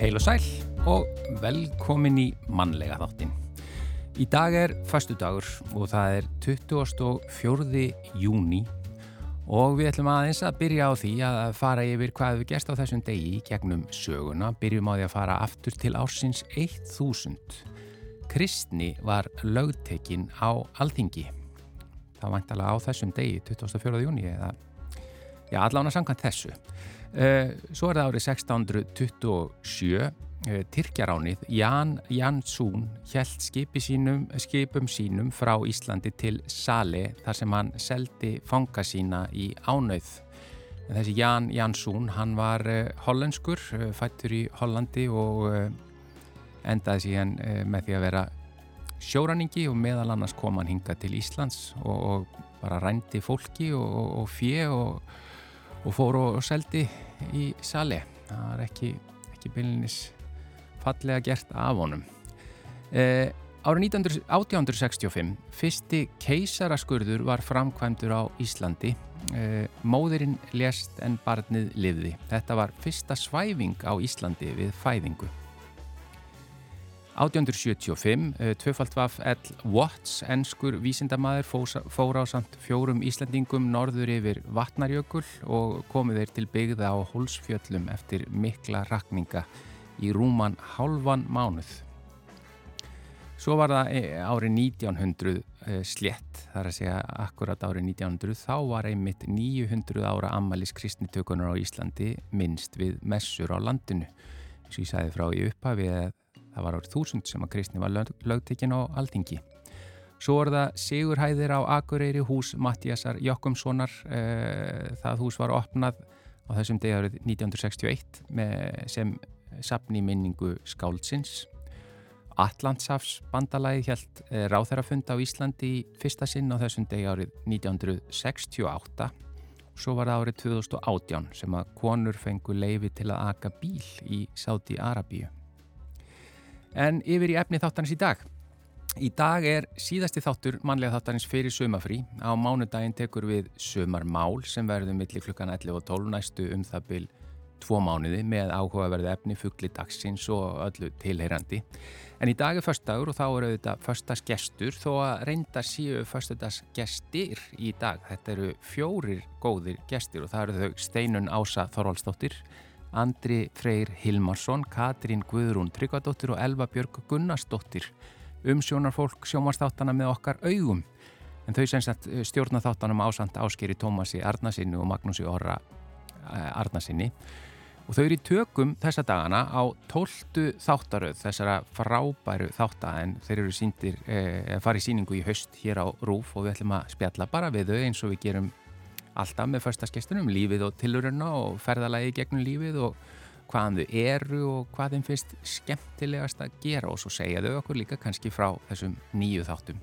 Heil og sæl og velkomin í mannlega þáttin. Í dag er fastudagur og það er 24. júni og við ætlum aðeins að byrja á því að fara yfir hvað við gerst á þessum degi í gegnum söguna. Byrjum á því að fara aftur til ársins 1000. Kristni var lögtekinn á Alþingi. Það væntalega á þessum degi, 24. júni eða Já, allan að samkvæmt þessu. Eh, Svo er það árið 1627, eh, Tyrkjaránið, Jan Jansún hjælt skipi sínum, skipum sínum frá Íslandi til Sali þar sem hann seldi fanga sína í ánauð. En Þessi Jan Jansún, hann var eh, hollenskur, eh, fættur í Hollandi og eh, endaði síðan eh, með því að vera sjóraningi og meðal annars kom hann hingað til Íslands og, og bara rændi fólki og, og, og fjö og og fór og, og seldi í sali. Það er ekki, ekki bylinis fallega gert af honum. Eh, árið 1900 1865, fyrsti keisaraskurður var framkvæmdur á Íslandi. Eh, móðirinn lést en barnið lifði. Þetta var fyrsta svæfing á Íslandi við fæðingu. 1875, eh, tvöfalt vaf L. Watts, enskur vísindamaður, fósa- fór á samt fjórum Íslandingum norður yfir Vatnarjökul og komu þeir til byggða á Hólsfjöllum eftir mikla rakninga í rúman hálfan mánuð. Svo var það eh, árið 1900 eh, slétt, þar að segja akkurat árið 1900, þá var einmitt 900 ára ammalis kristnitökunar á Íslandi minnst við messur á landinu. Svo ég sagði frá í upphafi að það var árið 1000 sem að kristni var lög, lögtekinn á Alþingi. Svo er það Sigurhæðir á Akureyri hús Mattiasar Jokkumssonar. Eh, Það hús var opnað á þessum degi árið 1961 með, sem sapni minningu skáldsins. Atlantsafs bandalagið hjælt ráþærafund eh, á Íslandi í fyrsta sinn á þessum degi árið 1968. Svo var það árið 2018 sem að konur fengu leifi til að aka bíl í Sáti Arabíu. En yfir í efni þáttarins í dag. Í dag er síðasti þáttur mannlega þáttarins fyrir sömafrí. Á mánudaginn tekur við sömarmál sem verður milli klukkan 11 og 12 næstu um það byl tvo mánuði með áhugaverðu efni fugli dagsins og öllu tilheyrandi. En í dag er föstagur og þá eru þetta föstasgestur þó að reynda síu föstagestir í dag. Þetta eru fjórir góðir gestir og það eru þau Steinun Ása Þorvaldsdóttir, Andri Freyr Hilmarsson, Katrín Guðrún Tryggvadóttir og Elva Björg Gunnarsdóttir umsjónar fólk sjómarstáttanna með okkar augum. En þau sem sagt eh, stjórna þáttanum ásand áskeri Tómasi Arnasinni og Magnúsi Orra eh, Arnasinni. Og þau eru í tökum þessa dagana á 12 þáttaröð, þessara frábæru þátta en þeir eru síndir, eh, farið síningu í haust hér á RÚF og við ætlum að spjalla bara við þau eins og við gerum alltaf með föstaskestunum, lífið og tiluruna og ferðalagi gegnum lífið og hvaðan þau eru og hvað þeim finnst skemmtilegast að gera og svo segja þau okkur líka kannski frá þessum nýju þáttum.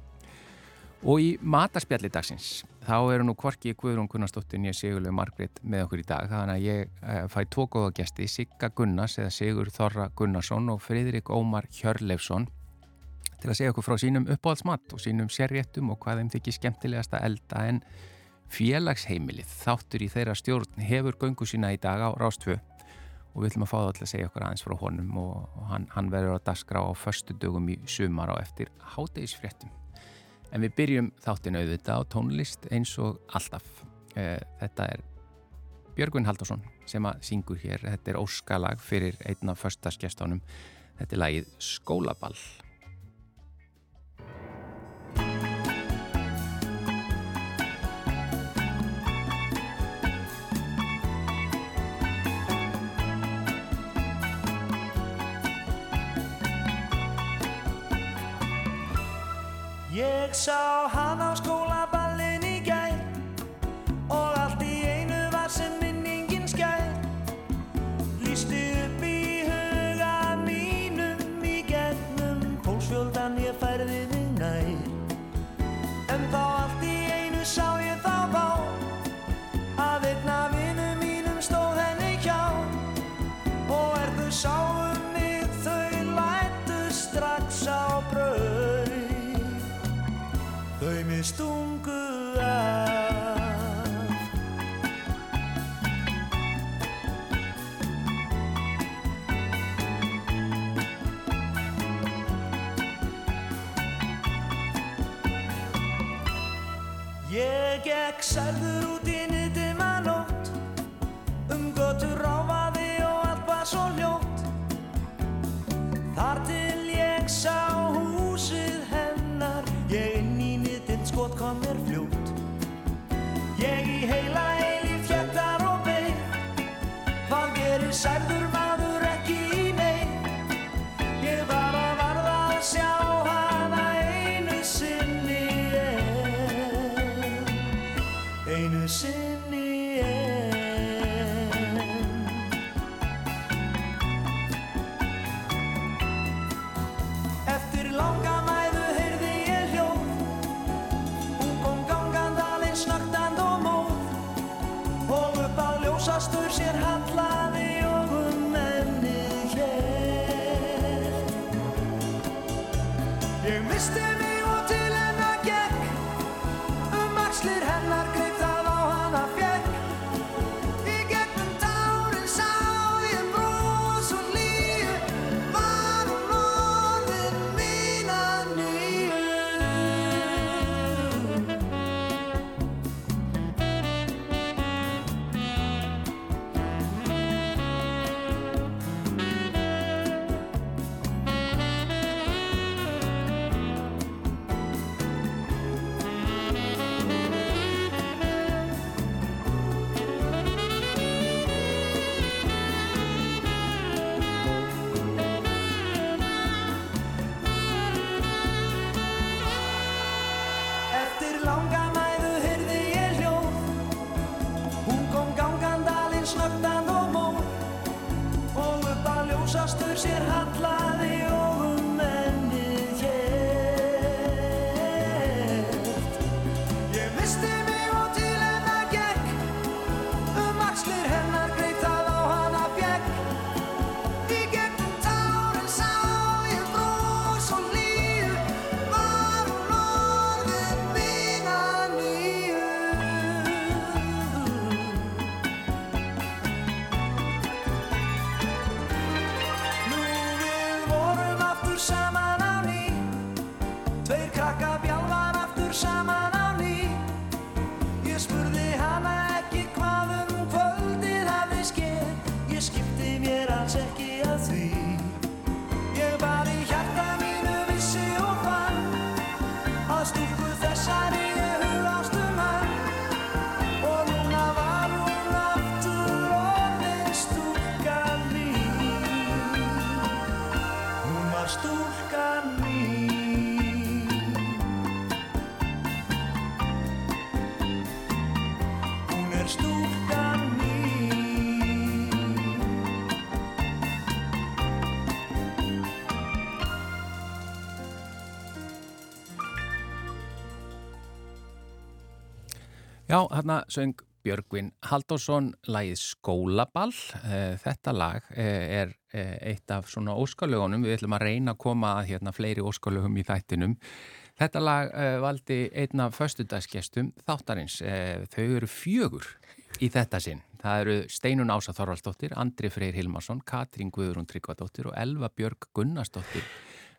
Og í mataspjalli dagsins, þá eru nú hvorki Guðrún Gunnarsdóttir nýja Sigurlega Margrét með okkur í dag, þannig að ég eh, fæ tvo góða gesti, Sigga Gunnars eða Sigur Þorra Gunnarsson og Friðrik Ómar Hjörleifsson til að segja okkur frá sínum uppáhaldsmat og sínum sérréttum og hvað þeim þykir skemmtilegast að elda en félagsheimilið þáttur í þeirra stjórn hefur göngu sína í dag á Rástvö og við ætlum að fá það alltaf að segja okkur aðeins frá honum og, og hann, hann verður að dasgra á förstu dögum í sumar og eftir hátegisfréttum. En við byrjum þáttin auðvitað á tónlist eins og alltaf. Eh, Þetta er Björgvin Haldursson sem að syngur hér. Þetta er óskalag fyrir einn af förstaskestunum. Þetta er lagið Skólaball. Ég sá hann á skólaballin í gær Og allt í einu var sem minningin skær Lýsti upp í huga mínum Í gegnum pólsfjöldan ég færði mig nær En þá allt í einu sá ég þá vá Að einna vinum mínum stóð henni hjá Og er þau sáum mig þau lætust stungu af Ég gekk sælður út í nýttima nótt Um götur ráfaði og allt var svo hljótt Þar til ég sá húsið hennar Ég inn í nýttinn skot kom mér fljótt Ég í heila eilíf fjöldar og bein Hvað gerir sælður maður ekki í nei Ég var að varða að sjá hana einu sinni enn einu sinni enn Eftir langa mæðu heyrði ég hljóð Hún kom gangand aðeins snögtand og móð Og upp að ljósastur sér hallaði og um ennið hér Ég misti mig og til hennar gekk Um axlir hennar greip það á hana fjekk Í gegnum tárin sá ég bros og líu Var hún orðin mín að nýju Eftir langa mæðu heyrði ég hljóð Hún kom gangand alins snögtan og móð Og upp að ljósastur sér hallaði og um ennið hér Ég misti mig og til hennar gekk Um axlir hennar greip það á hana fjekk Í gegnum tárin sá ég bros og líu, var hún orðin mín að nýju. Nú við vorum aftur saman á ný, tveir krakka bjálfar aftur saman á ný. Ég spurði hana ekki hvað um kvöldið hafði skeð Ég skipti mér alls ekki að því Ég var í hjarta mínu vissi og fann Að stúlku þessari ég hugast um hann Og núna var hún aftur orðin stúlkan mín Hún var stúlkan mín Hún er stúlkan mín Já, hérna söng Björgvin Halldórsson lagið Skólaball. Eh, Þetta lag eh, er eh, eitt af svona óskalögunum. Við ætlum að reyna að koma að hérna fleiri óskalögum í þættinum. Þetta lag eh, valdi einn af föstudagsgestum þáttarins. Eh, Þau eru fjögur í þetta sinn. Það eru Steinun Ása Þorvaldsdóttir, Andri Freyr Hilmarsson, Katrín Guðrún Tryggvadóttir og Elva Björg Gunnarsdóttir.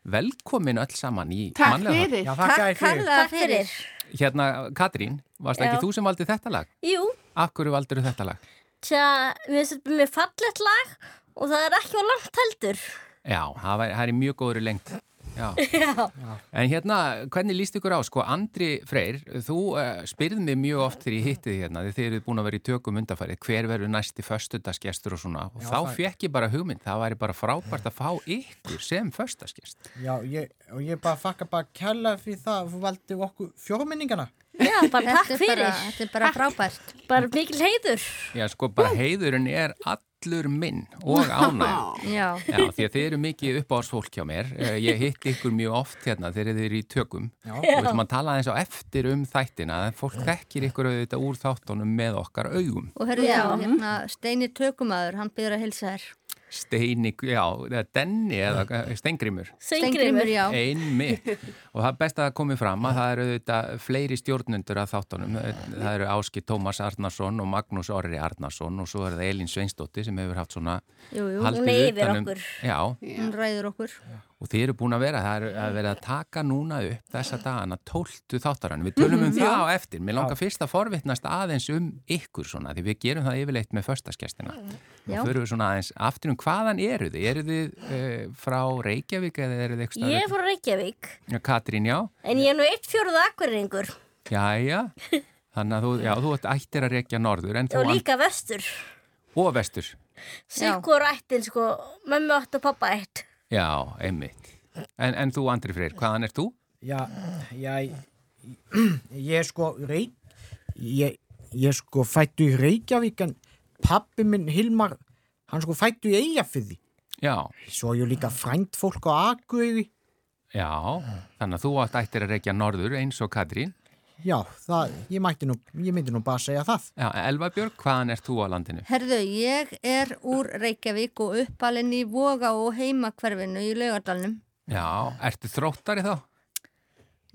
Velkomin öll saman í Takk mannlega þátt. fyrir. Já, þakka þér fyrir. Takk fyrir. Hérna, Katrín, varst Já. ekki þú sem valdi þetta lag? Jú, Af hverju valdur þetta lag? tja, mér finnst þetta mjög fallegt lag og það er ekki á langt heldur. Já, það, var, það er í mjög góðri lengt. Já. Já. En hérna, hvernig líst ykkur á? Sko, Andri Freyr, þú uh, spyrð mig mjög oft þegar ég hitti þið hérna, þegar þið eruð búin að vera í tökum undanfærið, hver verður næsti föstudagsgestur og svona. Og þá það- fekk ég bara hugmynd, það væri bara frábært að fá ykkur sem föstudagsgest. Já, ég, og ég bara þakka bara kærlega fyrir það að þú valdi okkur fjórminningana. Já, bara takk Þetta er fyrir. bara- Þetta er bara frábært. Bara mikil heiður. Já, sko, bara heiðurinn er allur minn og ánægð. Já, Já, því að þið eru mikið uppáðsfólk hjá mér. Eh, Ég hitti ykkur mjög oft hérna þegar þið eru í tökum Já. og við ætlum að tala eins á eftir um þættina en fólk þekkir ykkur auðvitað úr þáttunum með okkar augum. og hörðu Já. þá, hérna, Steini Tökumæður, hann byrður að hilsa þér. Steini, já, eða Denni eða Steingrimur Steingrimur já. Einmitt. Og það er best að það komi fram að það eru auðvitað fleiri stjórnundur að þáttunum. Það eru Áski Tómas Arnarsson og Magnús Orri Arnarsson og svo er það Elin Sveinsdóttir sem hefur haft svona Jú, jú, haldið hún er yfir utan um- okkur. Já, Hún ræður okkur. og þið eru búin að vera, það er að vera að taka núna upp þessa dagana tóltu þáttarann. Við tölum Mhm. um það á eftir. Mér langar fyrst að forvitnast aðeins um ykkur svona, því við gerum það yfirleitt með förstaskestina. Þá Já. förum við svona aðeins aftur um hvaðan eru þið? Eru þið eh, frá Reykjavík eða eru þið eitthvað? Ég er frá Reykjavík, Ég... Katrín, já. en ég er nú eitt fjóruða akkurringur Jæja, þannig að þú, já, þú ætt- ættir að rekja norður en þú og líka vestur. and- og vestur. Sikkur ættin, sko, mömmu átt og pappa ætt. Já, einmitt. En, en þú, Andri Freyr, hvaðan ert þú? Já, já, ég, ég er sko reik, ég, ég er sko fættu í Reykjavík en pappi minn Hilmar, hann sko fættu í Eyjafyrði. Já, Svo er ég líka frænt fólk á Akureyri. já, þannig að þú átt ættir að rekja norður eins og Katrín. Já, það, ég, mætti nú, ég myndi nú bara að segja það. Já, Elva Björg, hvaðan ert þú á landinu? Herðu, ég er úr Reykjavík og uppalinn í Voga og heimakverfinu í Laugardalnum. Já, ertu þróttari þá?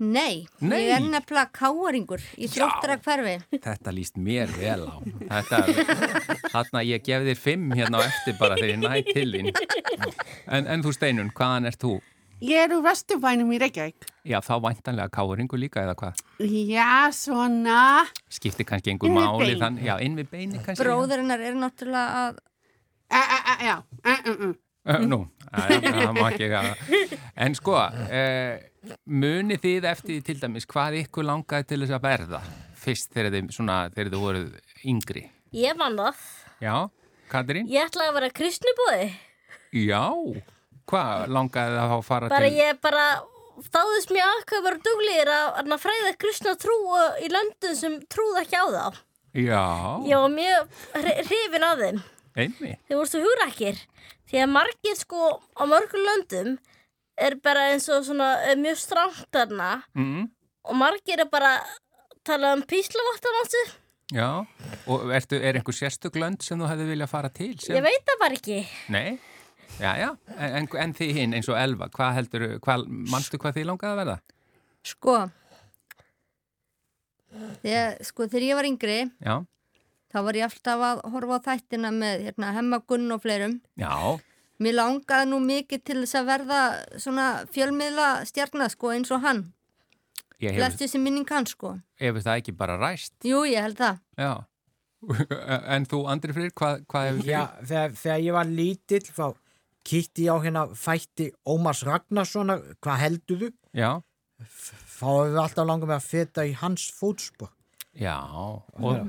Nei, Nei. ég er nefnilega káaringur í þróttara hverfi. Þetta líst mér vel á. Þetta, þarna ég gef þér fimm hérna á eftir bara þegar ég næ til þín. En, en þú, Steinun, hvaðan ert þú? Ég er úr Vesturbænum í Reykjavík. Já, þá væntanlega káringu líka eða hvað? Já, svona. skiptir kannski einhver Inn við máli bein. þann, já, inn við beini kannski Bróðurinnar er náttúrulega að... Æ, æ, æ, já. Æ, mm, æ, æ. Ö, Nú, æ, það má ekki það. En sko, uh, munið þið eftir því til dæmis hvað ykkur langaði til þess að verða fyrst þegar þið, svona, þegar þið voruð yngri? Ég vann það. Já, Katrín? Ég ætlaði að vera kristnubóði. Já, hvað langaði það að fara Bara til? ég bara þáðist mér aðkvæða bara duglegir að, að fræða kristna trú uh, í löndum sem trúða ekki á þá. Já, Ég var mjög hre- hrifin af þeim. einmitt. Þeir voru svo hugrakkir. Því að margir sko á mörgum löndum er bara eins og svona eh, mjög strangt þarna Mm, og margir er bara talað um píslavattamansu. já, og ertu, er einhver sérstök lönd sem þú hefði viljað fara til? Sem? Ég veit það bara ekki. Nei, já, já, en, en, en þið hinn eins og Elva, hvað heldur, hvað, manstu hvað þið langaði að verða? Sko, ég, sko þegar ég var yngri, Já, þá var ég alltaf að horfa á þættina með hérna, hemmagunn og fleirum. já, Mér langaði nú mikið til þess að verða svona fjölmiðla stjarnar sko eins og hann. ég hef, Lestu sem minning hann sko. hefur það ekki bara ræst, Jú, ég held það. já. En þú, Andri Freyr, hvað, hvað hefur Já, þegar, þegar ég var lítill þá kýtti ég á hérna fætti Ómars Ragnarssonar, hvað helduðu? Já, Þá hefur við alltaf langað með að feta í hans fótspor. Mm-hmm. já, og,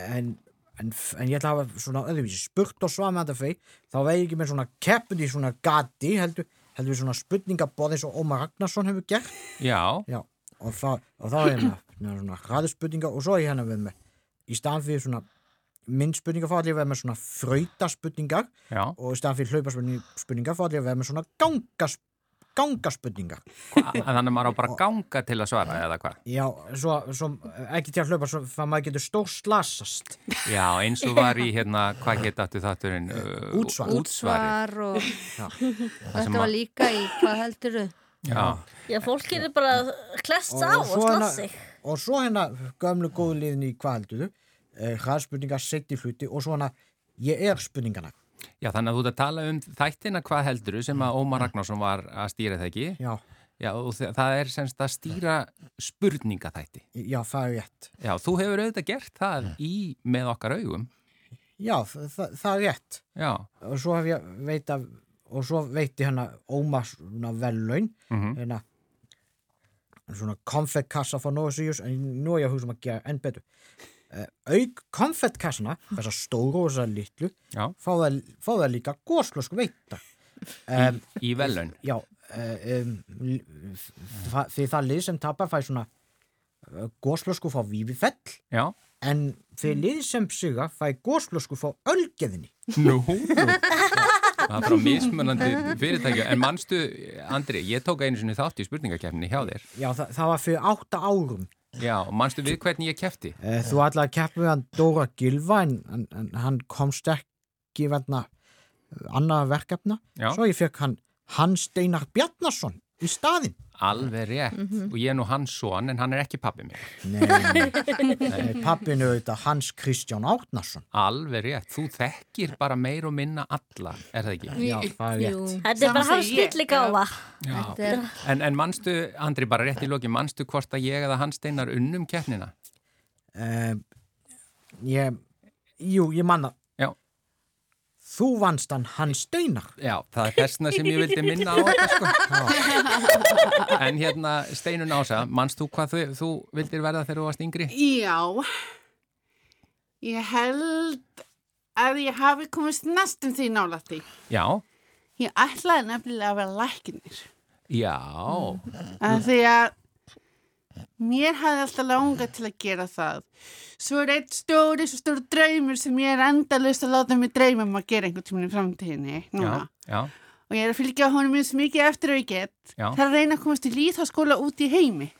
En, en, en ég ætla að hafa svona öðruvísi spurt og svað með þetta fyrir, þá veið ég ekki með svona keppin í svona gati, heldur, heldur svona spurningaborð eins og Ómar Ragnarsson hefur gert. já, Já, og þá, og þá er hérna hérna svona hraðspurningar og svo er hérna við með í staðan fyrir svona myndspurningar fór allir að vera með svona fröytaspurningar já, og í staðan fyrir hlaupaspurningar fór allir að vera með svona gangas, gangaspurningar Hva- þannig að maður á bara að ganga til að svara eða hvað. Já, svo, svo ekki til að hlaupa svo að maður getur stór slasast Já, eins og var í hérna, hvað geta aftur þátturinn? Uh, Útsvar. Útsvari. Útsvar og sem þetta var að- líka í hvað heldur þau? Já, Já, fólk er bara að klest á og slá sig. og svo hérna gömlu góðu liðin í hvað heldur þú hraðspurningar, seti hluti og svo hérna ég er spurningana já, þannig að þú ert að tala um þættina hvað heldur sem að Ómar Ragnarsson var að stýra það ekki. Já, Já, og þa- það er semst að stýra spurningaþætti. já, það er rétt Já, þú hefur auðvitað gert það í með okkar augum. Já, það, það er rétt Já, og svo hef ég veit að og svo veiti hérna Óma svona vellaun hérna svona konfettkassa frá Nóðsíus en nú er ég að hugsa um að gera enn betur uh, auk konfettkassana þessar stóru og þessar litlu já, fá það, fá það líka góslösk veita um, í velun. já eh, um, l- það- því það lið sem tapar fær svona uh, góslösku frá Vífifell Já, en því lið sem siga fær góslösku frá Ölgeðinni nú. Það er frá mismunandi fyrirtækja. En manstu, Andri, ég tók einu sinni þátt í spurningakefninni hjá þér. já það, það var fyrir átta árum Já, manstu við hvernig ég kefti? Eh, Þú ætlaði að keppa við hann Dóra Gilva en, en, en hann komst ekki verna annað eh, verkefna Já. svo ég fekk hann Hans Steinar Bjarnason í staðinn Alveg rétt. Mhm. Og ég er nú hans son, en hann er ekki pappi mér. Nei, nei. pappinu auðvitað Hans Kristján Árnason Alveg rétt. Þú þekkir bara meir og minna alla, er það ekki? Já, það er Jú, rétt Þetta er Sama bara segi hans ég. stilli gáfa. þetta er En, en manstu, Andri, bara rétt í loki, manstu hvort að ég eða hann steinar unnum keppnina? uh, ég, Jú, ég manna Já. Þú vannst hann Hans Steinar Já, það er þessna sem ég vildi minna á þetta sko. En hérna, Steinun Ása, manst þú hvað þau, þú vildir verða þegar þú varst yngri? Já, ég held að ég hafi komist næstum því nála því. Já, Ég ætlaði nefnilega að vera læknir. já, Af því að mér hafði alltaf langað til að gera það. Svo er eitt stóri, svo stóri draumur sem ég er endalaust að láta mig dreyma um að gera einhvern tímann í framtíðinni. já, Núna. já, Og ég er að fylgja honum eins mikið eftir og ég get. Já. Það er að reyna að komast í líðháskóla út í heimi.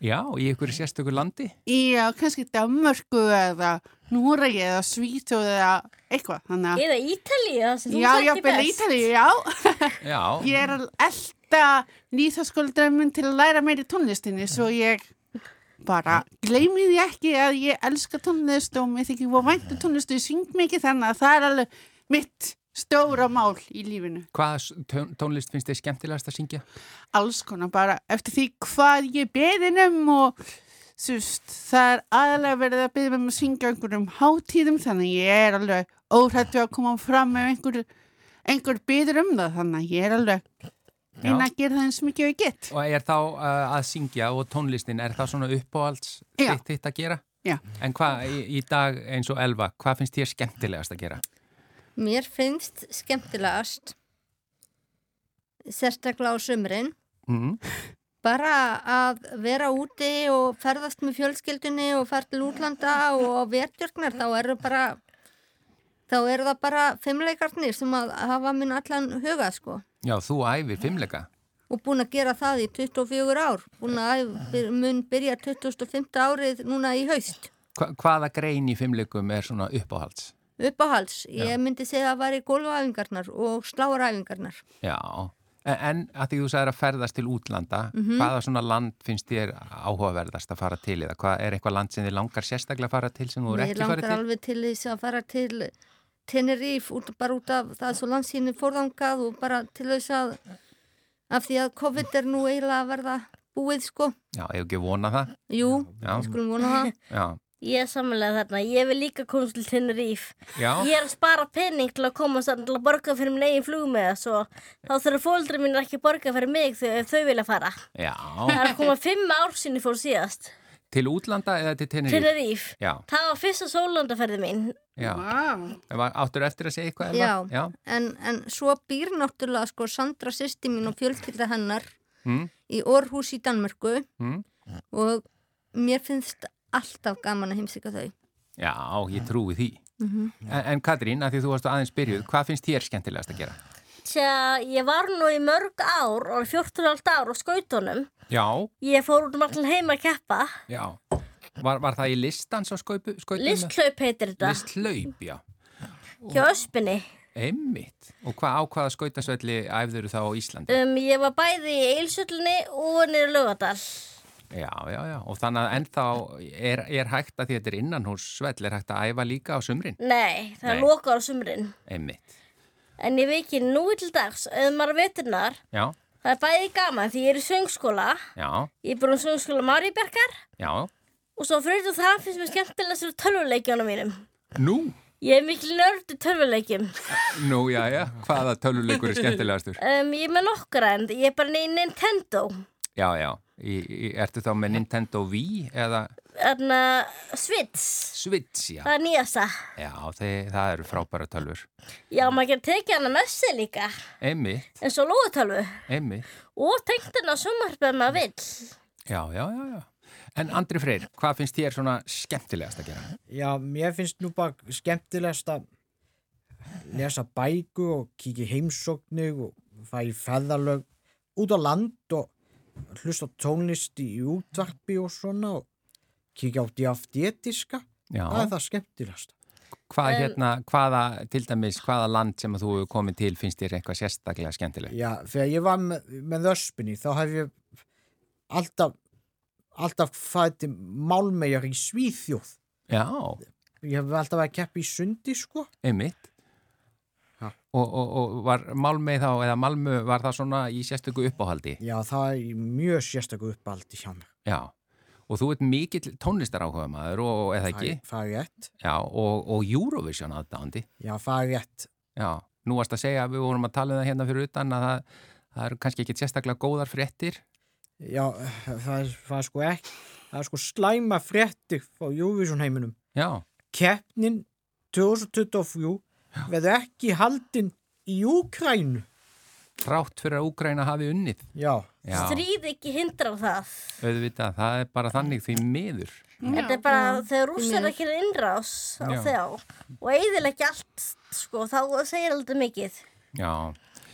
já, í ykkur sérstökur landi? Já, kannski Danmörku eða Núragi eða Svíþjóð eða eitthvað. Þannig að... Eða Ítalíu, það sem þú Já, já, þekkir byrja best. Ítalíu, já. Já, Ég er að elda líðháskóladræmin til að læra meiri tónlistinni svo ég bara gleymi því ekki að ég elska tónlist og mér þykir og væntu tónlist og ég syng mikið þannig að það er alveg mitt stóra mál í lífinu. hvaða s- tón- tónlist finnst þið skemmtilegast að syngja? alls konar bara eftir því hvað ég beðin um og sust, það er aðalega verið að beða um að syngja á einhverjum hátíðum þannig að ég er alveg óhrættu að koma fram ef einhver, einhver beður um það þannig að ég er alveg reyna að gera það eins mikið og ég get Og er þá uh, að syngja og tónlistin, er það svona uppáhalds Já. þitt, þitt að gera? Já. En hvað í, í dag eins og Elva, hvað finnst þér skemmtilegast að gera? Mér finnst skemmtilegast, sérstaklega á sumrin, Mm. bara að vera úti og ferðast með fjölskyldinni og fara til útlanda og á verðjörgnar, þá eru bara, þá eru það bara fimmleikarnir sem að hafa minn allan huga, sko. Já, þú æfir fimmleika. Og búin að gera það í 24 ár, búin að æf- mun byrja 25. árið núna í haust. Hva, hvaða grein í fimmleikum er svona uppáhalds? Uppáhals, ég myndi segja að það væri gólfæfingarnar og sláræfingarnar. Já, en, en að því þú sagðir að ferðast til útlanda, Mhm. hvaða svona land finnst þér áhugaverðast að fara til eða hvað er eitthvað land sem þið langar sérstaklega að fara til sem þú er Mér ekki langar farið til? alveg til þess að fara til Tenerife út, bara út af það er svo landsýni forðangað og bara til þess að af því að COVID er nú eiginlega að verða búið sko. Já, ég hef ekki vonað það. Jú, Já. við skulum vona það. Já, Ég er samanlega þarna, ég vil líka komast til Tenerife. já, Ég er að spara pening til að komast þarna til að borga fyrir minn eigin flug með þessu og þá þurfa fóldri mín ekki að borga fyrir mig þau, ef þau vilja fara. já. Það er að koma fimm ár sinni fór síðast. Til útlanda eða til Tenerife? Tenerife. Já, Það var fyrsta sólandaferði mín. já. wow. Var- Áttur eftir að segja eitthvað? Já. Elva? já. En, en svo býr náttúrulega sko Sandra sýsti mín og fjölskylda hennar Mm. í Orhus í Danmörku Mm. og mér finnst alltaf gaman að heimsika þau. Já, ég trúi því. Mhm. en, en Katrín, að því þú varst aðeins byrjuð, hvað finnst þér skemmtilegast að gera? Tja, ég var nú í mörg ár, orðið 14 og hálft ár á skautunum. Já, Ég fór út um allan heima að keppa. já. Var, var það í listans á skaupu? skautum? Listhlaup heitir þetta. Listhlaup, já. Hjá Öspinni. Einmitt. Og hvað á hvaða skautasvelli æfður þú þá á Íslandi? Um, ég var bæði í Eilsöllinni og niður Laugadal. Já, já, já. Og þannig að ennþá er, er hægt að því þetta er innanhússvell, er hægt að æfa líka á sumrin? Mm. Nei, það Nei. er lokar á sumrin. Einmitt. en En ég veiki nú til dags, ef maður veturnar, Já, það er bæði gaman því ég er í söngskóla. já, Ég er búin að söngskóla Maríbergar já. og svo fyrir þú það finnst mér skemmtilega sér tölvuleikjónum mínum. Nú? Ég er mikil nörd í tölvuleikjum. Nú, já, já. Hvaða töluleikur er skemmtilegastur? Um, ég er með nokkra en ég er bara neinn Nintendo. Já, já. Í, í, ertu þá með Nintendo Wii eða Þarna Switch, Switch, já? það er nýjasta. Já, þið, það eru frábæra tölvur. Já, maður getur tekið hana með sig líka, Einmitt, eins og lóðutölvu. einmitt. Og tengt hana á sjónvarpið ef maður vill. Já, já, já, já. En Andri Freyr, hvað finnst þér svona skemmtilegast að gera? Já, mér finnst nú bara skemmtilegast að lesa bækur og kíkja í heimsóknir og fara í ferðalög út á land og hlusta á tónlist í útvarpi og svona og kíkja á DFD-diska, Já. það er það skemmtilegast. Hvað, En- hérna, hvaða, til dæmis, hvaða land sem að þú hefur komið til finnst þér eitthvað sérstaklega skemmtilegt? Já, þegar ég var með, með öspinni þá hef ég alltaf alltaf fætti málmeyjar í Svíþjóð Já, ég hef alltaf verið að keppa í sundi sko einmitt. Ha. Og, og, og var Malmö þá, eða Malmö var það svona í sérstöku uppáhaldi? já það er mjög sérstakku uppaldi hjá mér Já. Og þú ert mikill tónlistar áhuga maður, og, Það eða ekki? er- það er rétt Já, og, og Eurovision aðdáandi. já það er rétt Já, nú varst að segja að við vorum að tala um það hérna fyrir utan að það, það eru kannski ekki sérstaklega góðar fréttir. já það er, það er sko ekki það er sko slæma fréttir á Júvísson heiminum Já, keppnin 2024 verður ekki haldin í Úkrænu trátt fyrir að Úgræna hafi unnið. já Já, Stríð ekki hindra á það. auðvitað, það er bara þannig því miður. Þetta er bara þegar rússar ekki er innrás á Já. þjá og eiðilegja allt, sko, þá segir aldrei mikið. Já,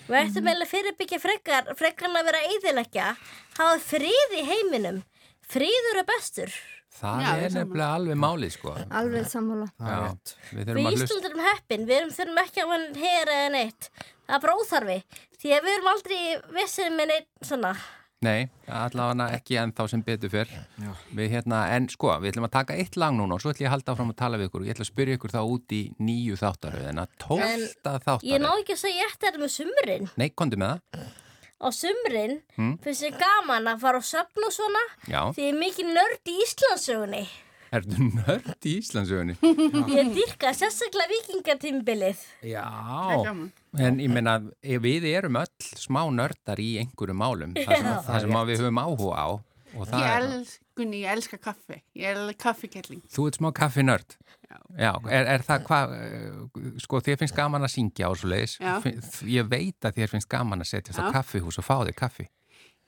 Við ættum Mhm. eiginlega að fyrirbyggja frekar, frekar en að vera eiðilegja. Hafa frið í heiminum. Friður er bestur. það Já, ég er er sammála. nefnilega alveg málið sko. alveg sammála það er Já, rétt við þurfum Við að hlusta. Ísland erum heppin, við erum, þurfum ekki að mann hera eða neitt. Það er bara óþarfi. Því að við erum aldrei vissir með neitt svona. Nei, allavega ekki ennþá sem betur fyrr. Já. Við hérna, en sko, við ætlum að taka eitt lag núna og svo ætlum ég að halda áfram að tala við ykkur. Ég ætlum að spyrja ykkur þá út í nýju þáttaröðina, tólfta Ég ná þáttaröð. ekki að segja eftir þetta með sumrin. Nei, komdu með það. Á sumrin Hmm? finnst ég gaman að fara á söfn og svona. Já, Því ég er mikið nörd í Íslandsugunni. ertu nörd í Íslandsögunni? Ég dýrka sérstaklega vikingatímbilið. Já, en ég meina ef við erum öll smá nördar í einhverju málum, það sem, Já. það sem að við höfum áhuga á og það Ég er, elska, Gunni, ég elska kaffi. Ég elska kaffikelling. þú ert smá kaffinörd Já, er, er það hvað eh, sko þér finnst gaman að syngja og svo leiðis Já. ég veit að þér finnst gaman að setjast á Já. kaffihús og fá þér kaffi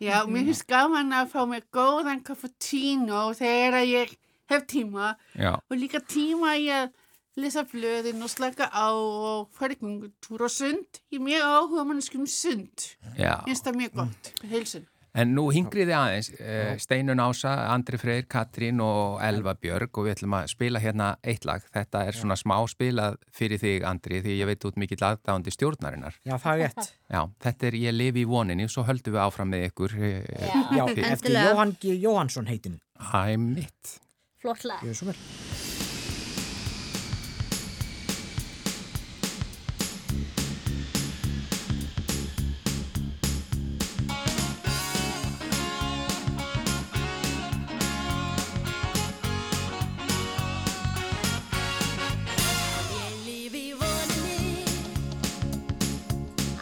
Já, mér finnst gaman að fá mér góðan cappuccino þegar að ég hef tíma Já, og líka tíma í að lesa blöðin og slaka á og fara í gungutúr og sund. Ég er mjög áhuga mannskum sund. já Mm. Mér finnst það mjög gott. Heilsun. En nú hingriði aðeins eh, Steinun Ása, Andri Freyr, Katrín og Elva Björg og við ætlum að spila hérna eitt lag. Þetta er svona smá spilað fyrir þig Andri því ég veit út mikill aðdáðandi stjórnarinnar. já það er rétt Já, þetta er ég lifi í voninni og svo höldum við áfram með ykkur eh, Já, Fyr- eftir Endilega. Jóhann G. Jóhannsson heitin Æ, mitt. Flott lag. Gjörðu svo vel. Ég líf í voninni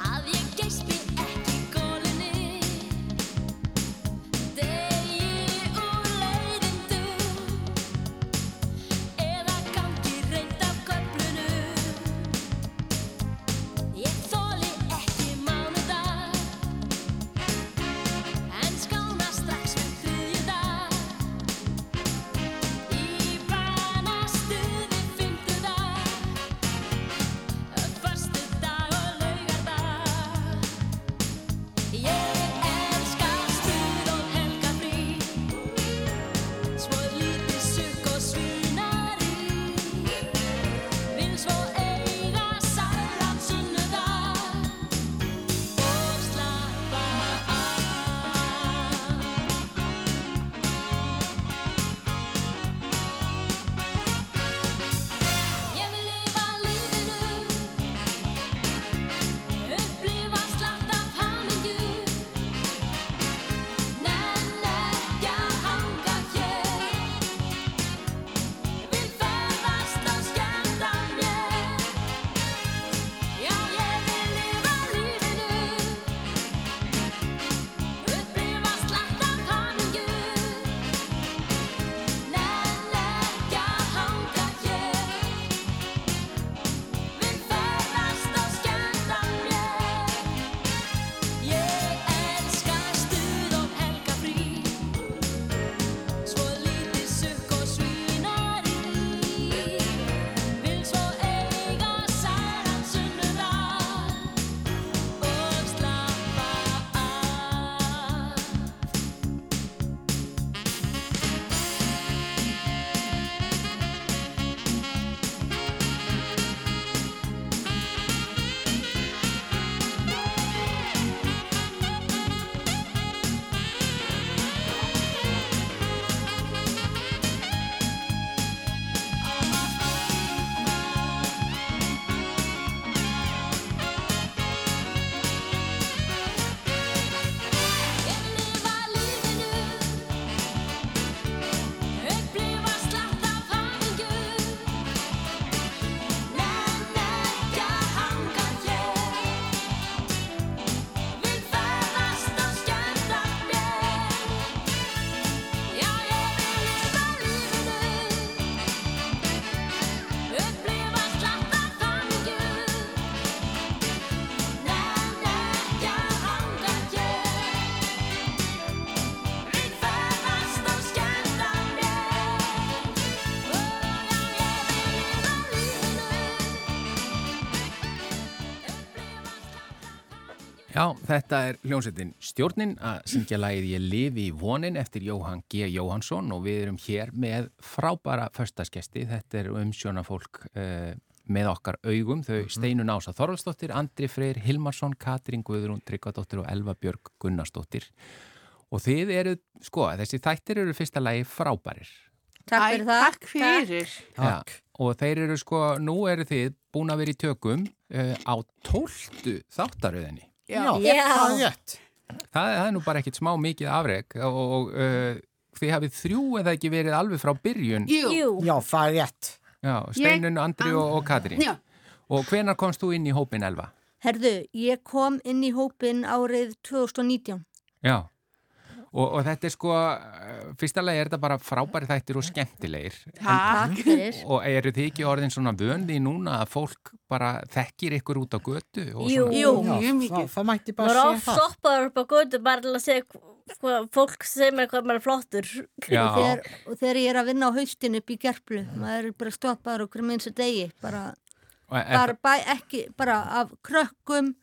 Að ég geispi ekki gólinni Degi úr leiðindu Já, þetta er hljómsveitin Stjórnin að syngja lagið Ég lifi í vonin eftir Jóhann G. Jóhannsson og við erum hér með frábæra föstaskesti. Þetta er umsjóna fólk eh, með okkar augum. Þau Steinun Ása Þorvaldsdóttir, Andri Freyr Hilmarsson, Katrín Guðrún Tryggvadóttir og Elva Björg Gunnarsdóttir. Og þið eru, sko, þessi þættir eru í fyrsta lagi frábærir. Takk fyrir það. Takk fyrir. Takk. Já, og þeir eru sko, nú eru þið búin að vera í tökum uh, á tóltu þáttaröðinni. Já, Já. það er rétt. Það, það er nú bara ekkert smá mikið afreg og, og uh, þið hafið þrjú eða ekki verið alveg frá byrjun. Jú. Jú, Já, það er rétt. Já, Steinun, Andri og, og Katrín. Já. Og hvenar komst þú inn í hópin Elva? Herðu, ég kom inn í hópin árið 2019. Já. Og, og þetta er sko, eh, fyrsta lagi er þetta bara frábæri þættir og skemmtilegir. Takk. Takk fyrir. Og eru þið ekki orðin svona vöndi núna að fólk bara þekkir ykkur út á götu? og Jú. svona- Jú, Já, mjög það, mikið. það mætti maður er bara oft sé það. stoppaður upp á gótu bara til að segja hv- hvað fólk segir mér hvað maður er flottur. Já, Þegar, og þegar ég er að vinna á haustin upp í gerplu, maður er bara stoppaður okkur með eins og degi, bara, og er, bara, bæ, ekki, bara af krökkum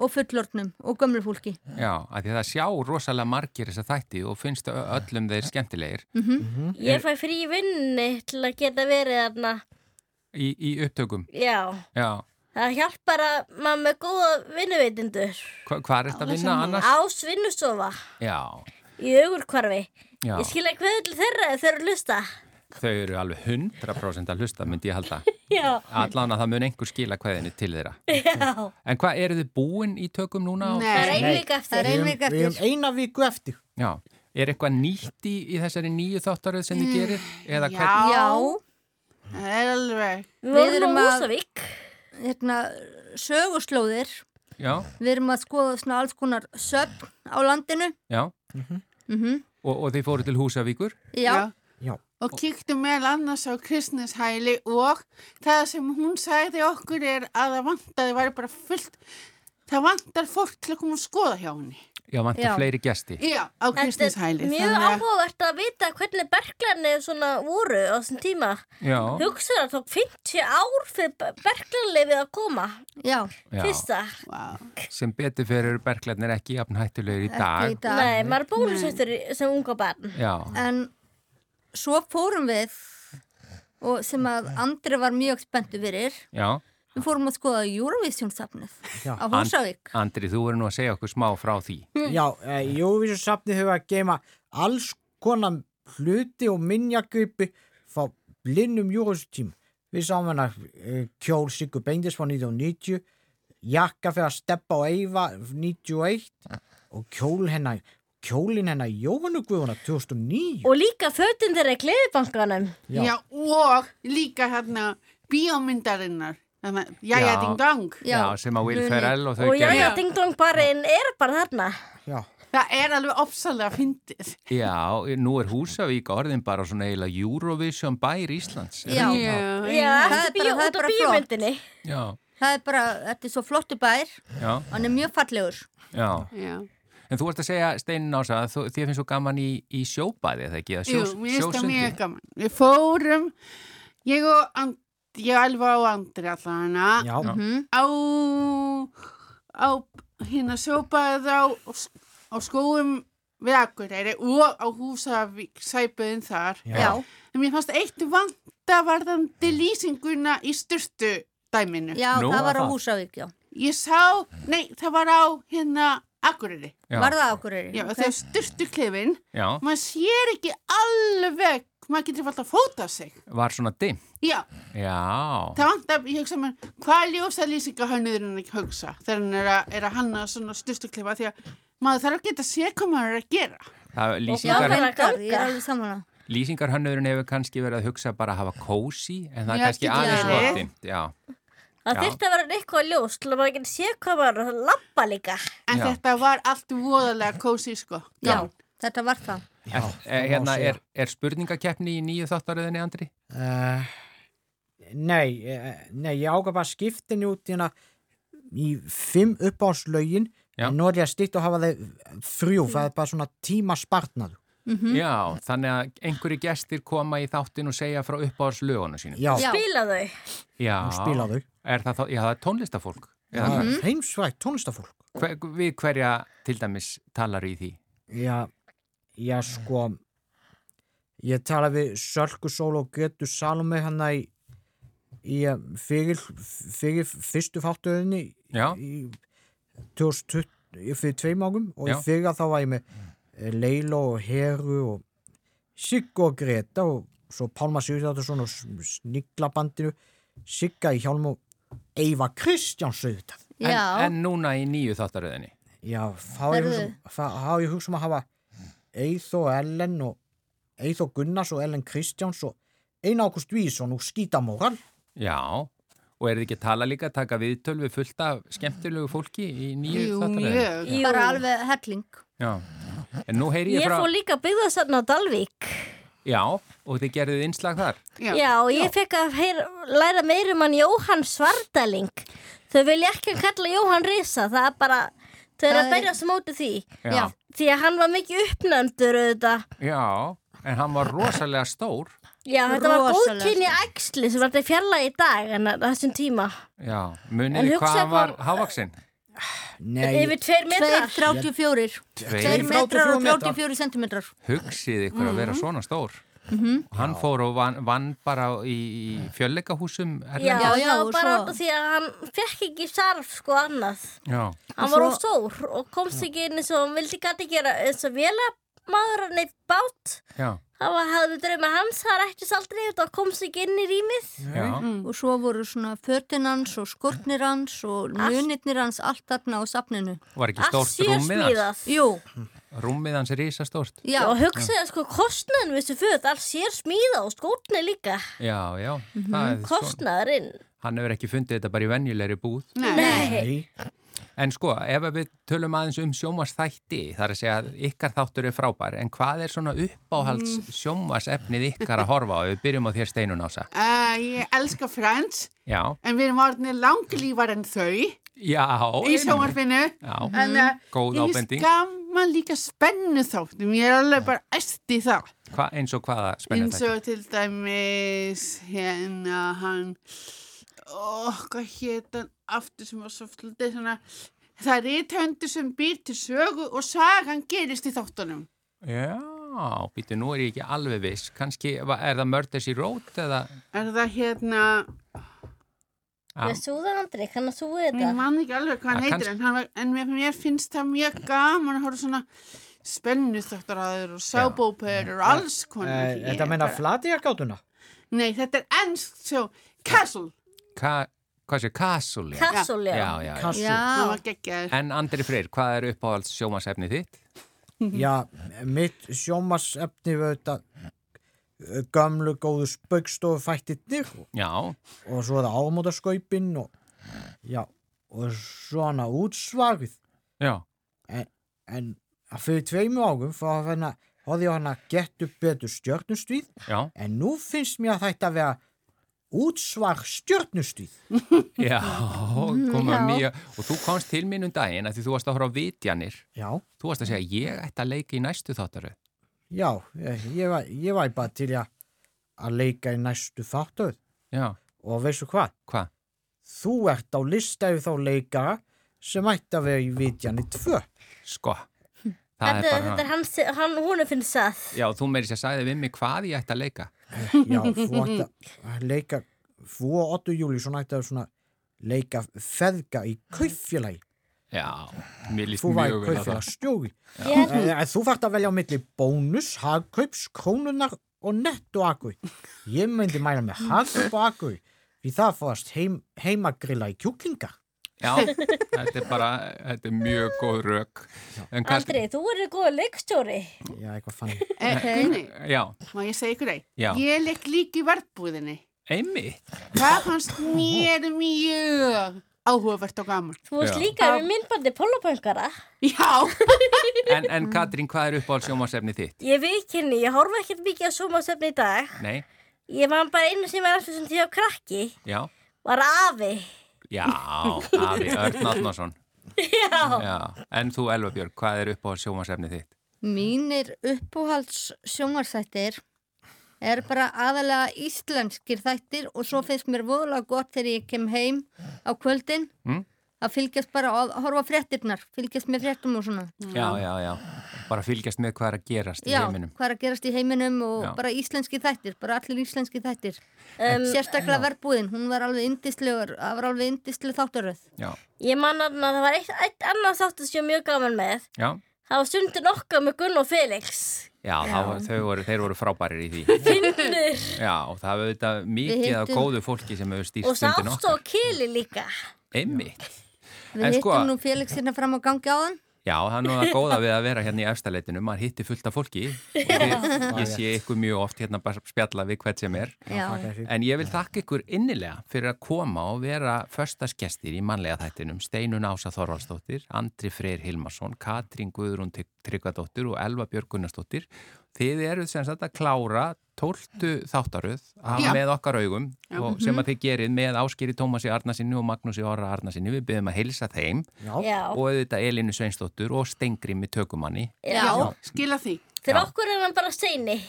og fullornum og gömlu fólki. já, að því það sjá rosalega margir þessa þætti og finnst ö- öllum þeir skemmtilegir Mhm. Mhm. Ég fæ frí í vinninni til að geta verið þarna. í, í upptökum. Já, Já, það hjálpar að maður með góða vinnuveitindur. Hva, hvað er þetta að vinna annars? Ás vinnustofa Já, í augurkvarfi. já, Ég skilja hvað til þeirra ef þeir eru að hlusta. þau eru alveg 100% að hlusta, myndi ég halda. Já, Allan að það mun einhver skila kveðinu til þeirra. já. En hvað, eru þið búin í tökum núna? og- Það er Nei. ein vika Það eftir. er ein vika Við eftir. hefum eina viku eftir. Já, er eitthvað nýtt í, í þessari nýju þáttaröð sem þið gerir? Eða hvern- Já. Já, Það er alveg. Við Við erum vorum á að- Húsavík. hérna, söguslóðir, já, við erum að skoða svona alls konar söfn á landinu. já. Mm Og, og þið fóru til Húsavíkur? Já, Já, Og kíktum meðal annars á kristnishæli og það sem hún sagði okkur er að það vantaði væri bara fullt, það vantar fólk til að koma að skoða hjá henni. Já, vantar Já. fleiri gesti. Já, á Þetta er kristnishæli. mjög áhugavert að vita hvernig berglarni svona voru á þessum tíma. Já, Hugsaður að það tók 50 ár fyrir berglarnlefið að koma. já, já. Fyrsta. Wow. Sem betur fyrir berglarnir ekki jafn hættulegur í dag. ekki í dag. Nei, maður er bólusettur í- sem unga barn. Já, En svo fórum við og sem að Andri var mjög spenntu fyrir já. við fórum að skoða Eurovision-safnið Já. á Húsavík Andri, þú verður nú að segja okkur smá frá því. Hm. já e, Jóvísu safnið hefur að geima alls konar hluti og minnjagripi frá blinnum Jóvísu tím. Við sáum hennar e, kjól Sigur Beindis frá 1990, jakka fyrir að steppa á Eyva 91 og kjól hennar, kjólin hennar Jóhannu Guðuna 2009. Og líka fötin þeirra í gleðibankanum. Já. og líka hérna bíómyndarinnar. Þannig að jæja Já. ding dong. Já, sem að Will muni. Ferrell og þau Og já, já, gerðu. ding-dong barinn er bara þarna. Já, Það er alveg ofsalega fyndið. Já, nú er Húsavík orðin bara svona eiginlega Eurovision bær Íslands. er Já. það ekki? Já, Það er eftir bara- bíó, það er út af bara flott. bíómyndinni. Já, það er bara, þetta er svo flottu bær já, hann er mjög fallegur já. Já. En þú ert að segja, Steinin Ása, að þú- þér finnst þú gaman í, í sjóbæði, eða ekki? Eða Jú, Sjós, mér finnst það sjósundi? mjög gaman. Við fórum, ég og and, ég alveg á andri allana, já, já, á, á hérna sjópaðið á, á skóum við Akureyri og á Húsavík, sæböðin þar. já. já, En mér fannst eitt vandavarðandi lýsinguna í styrtu dæminu. já Nú, það var á það. Húsavík já. Ég sá, nei, það var á hérna Akureyri. Já, var það okkur Já, okay. þau styrtu klefin. já, Maður sér ekki alveg, maður getur alltaf fótað sig. var svona dimm. Já, Já, það vantar, ég hugsa mér, hvað ljósa lýsinga hann ekki hugsa þegar hann er að, er að hanna svona styrtuklefa því að maður þarf að geta séð hvað maður er að gera. það, Já, lýsingar, það- ég er alveg saman á lýsingarhönnurinn hefur kannski verið að hugsa bara að hafa kósi, en það er Já, kannski getur aðeins verið. vortimt. Já, Það Já. þurfti að vera eitthvað ljós til að maður geti séð hvað maður er að lappa líka. En Já. þetta var allt voðalega kósi, sko. já, þetta var það er, er, það má hérna, segja. er, er spurningakeppni í nýju þáttaröðinni, Andri? Uh, nei, eh, nei, ég ákvað bara skiptin út hérna í fimm uppáðslaugin Já. en nú er ég að stýtt og hafa þeir þrjú, það er bara svona tíma spartnað Já, þannig að einhverju gestir koma í þáttin og segja frá uppáðarslögunum sínum. Já, Já. Bila þau. Já, og spila þau Er það, þá- já, það er tónlistafólk. Já, Það er heimsvægt tónlistafólk Hver, við hverja til dæmis talar í því? Já, já sko ég tala við Sölku Sól og Gretu Salome hann í, í eh, fyrir, fyrir fyrstu þáttuðinni Já. í 2020 í- fyrir tveim águm og í Já. fyrir að þá var ég með eh, Leila og Heru og Sigga og Greta og svo Pálma Sigurðardasson og Sniglabandinu Sigga í hjálm og Eyva Kristjáns auðvitað. En, Já, en núna í nýju þáttaröðinni. Já, þá er ég Heyrðu. hugsa um- þá þá er ég hugsa um að hafa Eithó Ellen og Eithó Gunnars og Ellen Kristjáns og Einar Ákust Vísson og Skítamóral Já, og er þið ekki að tala líka að taka viðtöl við fullt af skemmtilegu fólki í nýju Jú, þáttaröðinni? mjög. Jú. bara alveg helling Já, en nú heyri ég Ég frá... fór líka byggðasafn á Dalvík. Já, og þið gerðið innslag þar. Já, ég fekk að heyra, læra meira um hann Jóhann Svardaling. Þau vilja ekki að kalla Jóhann Risa, það er bara, þau eru Það að er- berjast á móti því. Já. Því að hann var mikið uppnæmdur auðvitað. Já, en hann var rosalega stór. Já, þetta var Rosalega góðkynni æxli sem var þetta fjarlæg í dag en á þessum tíma. Já, En muniði hvað hugsaðu hann var bara- hávaksinn? Nei, Yfir tveir metrar. 2,34 2 Tveir. Tveir. metrar og 34 34 sentimetrar Hugsið ykkur að Mhm. vera svona stór. Og hann fór og vann, vann bara í, í fjölleikahúsum. Já, erlendis. já, Já, já, og bara svo- út af því að hann fekk ekki sarf sko annað. Já, Hann var of stór og komst ekki inn eins og hann vildi gæti gera eins og vélamaður hann eitt bát. já, Það var, hafði drauma hans, það rættist aldrei og það komst ekki inn í rýmið. já. Mm, og svo voru svona fötin hans og skortnir hans og munirnir hans allt þarna á safninu Var ekki Allt stórt rúmið hans? sérsmíðað. Jú, Rúmið hans er risastórt. já, Og hugsaði sko kostnaðin við þessu föt, allt sérsmíðað og skórni líka. Mm-hmm. Já, já. það Mhm. er svo- Kostnaðurinn. Hann hefur ekki fundið þetta bara í venjulegri búð. Nei. nei, En sko, ef að við tölum aðeins um sjómasþætti, þar að segja að ykkar þáttur er frábær, en hvað er svona uppáhalds Mm. sjómasefnið ykkar að horfa á? Við byrjum á þér steinun ása. Uh, ég elska Friends, Já, en við erum orðinir langlífar en þau já. í sjónvarpinu. Já, En uh, Góð ég ábending. skamma líka spennu þáttum, ég er alveg bara æst í það. hva, eins og hvaða Eins spennandi. og til dæmis hérna hann, óh, hvað hétt hann aftur sem var svo svolítið svona, það er rithöndu sem býr til sögu og sagan gerist í þáttunum. Já, býtu, nú er ég ekki alveg viss. Kanski, va- er það Murders í Rót eða... Er það hérna, Já. Við súðan Andri, kann að súðu ég þetta. man ekki alveg hvað hann Ja, heitir, Ah. kannski- en, hann var, en mér, mér finnst það mjög gaman að horfa á svona spennu þáttaraður og sábóper og alls konar. Eh, þetta Ég meina bara- flatiðargátuna Nei, þetta er ennsk sjó, Castle. Ka, hvað sé, Kasul? já? Kassol, já. Já, já, já. Kassu, já. Það já, var geggjaður. En Andri Freyr, hvað er uppáhalds sjómasefnið þitt? Mm. mitt sjómasefni var þetta eh, gömlu góðu spaukstofufættirnir Já, og svo er það ámótaskaupin og já, og svona útsvarið já, en fyrir tveimu águm fór að finna hóði ég á hana gettu betur stjörnustvíð já, en nú finnst mér að þetta vera útsvar stjörnustvíð já, komum já. nýja. Og þú komst til mín um daginn að því þú varst að horfa á vitjanir. já, Þú varst að segja, ég ætti að leika í næstu þáttaröð. já ég, ég var, ég var bara til í að að leika í næstu þáttöð Já, og veistu hvað, hvað? þú ert á lista yfir þá leikara sem ætti að vera í vitjani 2 Sko, það Þetta, er þetta er bara... hans, hann, hún er finnst það. Já, þú meiri sér sagði við mig hvað ég ætti að leika. já, þú ætti að leika þú og Otto Júlísson ætti að svona leika feðga í kaupfélagi Já, mér líst þú væri mjög vel á það. kaupfélagstjóri Ég, en, en þú fært að velja á milli bónus, hagkaups, krónunar og nettoakui ég myndi mæla með hagkaup og akui því það fóðast heim, heimagrilla í kjúklingar Já, þetta er bara, þetta er mjög góð rök. En kannski, Andri, þú eru góð leikstjóri. já, eitthvað fann Eh, Gunni, já, má ég segja ykkur eitt? Já. Ég leik líka í verðbúðinni. einmitt. Það fannst mér mjög áhugavert og gaman. Þú varst Já. líka með myndbandi pólopöngara. Já, En, en Katrín, hvað er uppáhalds sjómasefni þitt? Ég viðkynni, ég horfa ekkert mikið á sjómasöfni í dag. Nei, Ég var bara einu sem var eftir sem því á krakki. já, Var afi. já, afi, Örn Átnarsson. Já. Já, en þú Elva Björg, hvað er uppáhalds sjómasefni þitt? mínir uppúhalds sjónvarsættir er bara aðalega íslenskir þættir og svo finnst mér voðalega gott þegar ég kem heim á kvöldin Mm. að fylgjast bara að horfa á fréttirnar fylgjast með fréttum og svona já, já, já. Bara fylgjast með hvað er að gerast í já, heiminum. hvað er að gerast í heiminum og Já. bara íslenski þættir, bara allir íslenski þættir Um, sérstaklega verbúðin, hún var alveg indislegur, það var alveg indisleg þáttaröð Já, Ég man að það var eitt, eitt annað þáttu sem ég var mjög gaman með. já. Það var sundin okkar með Gunn og Felix. Já, já. Var, þau voru, þeir voru frábærir í því. Finnur. Já, og það hefur auðvitað mikið af hittum- góðu fólki sem hefur stýrt Og stundin sátt okkar. og kili líka. Einmitt. við En sko- hittum nú Felix hérna fram á gangi á þann Já, það er nú það góða við að vera hérna í efstaleitinu, maður hitti fullt af fólki og þið, ég sé ykkur mjög oft hérna bara spjalla við hvert sem er. já, Þakka þér fyrir. En ég vil þakka ykkur innilega fyrir að koma og vera förstasgestir í mannlega þættinum Steinun Ása Þorvaldsdóttir, Andri Freyr Hilmarsson, Katrín Guðrún Tryg- Tryggvadóttir og Elva Björg Gunnarsdóttir. Þið eru sem sagt að klára 12 þáttaröð af- Já. með okkar augum og sem að þið gerið með Áskeri Tómasi Arnasinni og Magnúsi Orra Arnasinni. Við byrjum að heilsa þeim Já, Já. og auðvitað Elinu Sveinsdóttur og Stengrimi Tökumanni Já. skila því. Fyrir Já. okkur er hann bara steini.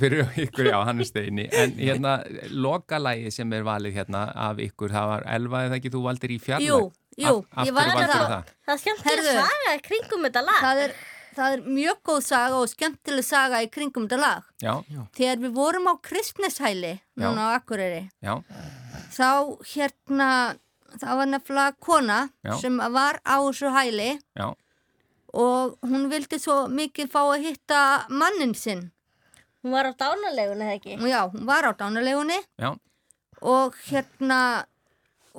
fyrir ykkur, já, hann er steini en hérna, lokalægi sem er valið hérna af ykkur, það var elva eða ekki þú valdir í fjarlag Jú, jú, af, ég af hverju valdi valdirðu það. það? Það er skemmtileg Heyrðu. saga í kringum þetta lag. það er, það er mjög góð saga og skemmtileg saga í kringum þetta lag Já, þegar við vorum á kristneshæli núna á Akureyri já, þá hérna það var nefnilega kona Já. sem var á þessu hæli já, og hún vildi svo mikið fá að hitta mannin sinn Hún var á dánalegun eða ekki. og já, hún var á dánalegunni já og hérna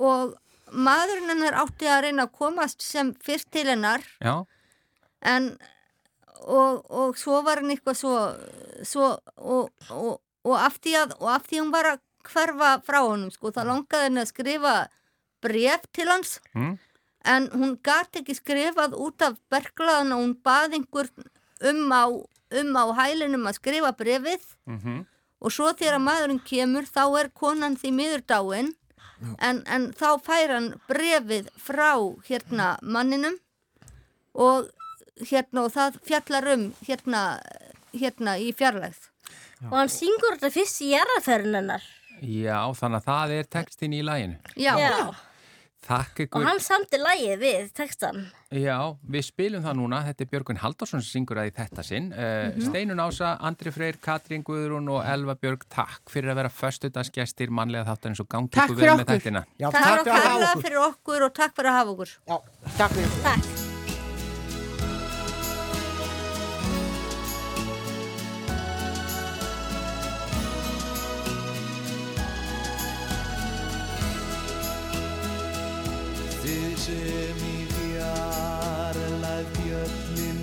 og maðurinn hennar átti að reyna að komast sem fyrst til hennar já, en og, og svo var hann eitthvað svo, svo og, og, og, af því að, og af því hún var að hverfa frá honum sko, þá langaði henni að skrifa bref til hans Mm. en hún gat ekki skrifað út af berglaðan og hún bað einhver um á, um á hælinum að skrifa brefið mm og svo þegar maðurinn kemur þá er konan því miður dáin en, en þá fær hann brefið frá hérna manninum og hérna og það fjallar um hérna, hérna í fjarlægð Og hann syngur þetta fyrst í jarðaferðin hennar. já, þannig að það er textin í læginu Já, Já. Takk Og ykkur, hann samti lagið við textan. já, við spilum það núna þetta er Björgun Haldarsson sem syngur að í þetta sinn uh, Steinun Ása, Andri Freyr, Katrín Guðrún og Elva Björg, takk fyrir að vera föstudagsgestir, mannlega þáttan eins og gangi Takk ykkur fyrir vel með okkur. þættina já, takk takk og fyrir kærlega okkur. fyrir okkur og takk fyrir að hafa okkur Já, takk fyrir. Takk. Þið sem í fjarlæð bjöllin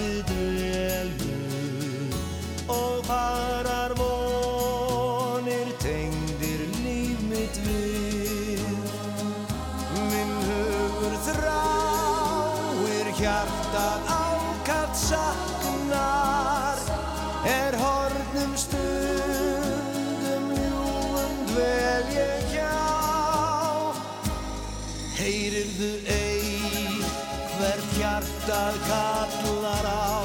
við dvelju og farar vonir tengdir líf mitt við. Minn hugur þráir hjartað ákatt saknar er hornum stundum ljúum dvel ég hjá. Heyrirðu ei hvert hjartað kallar á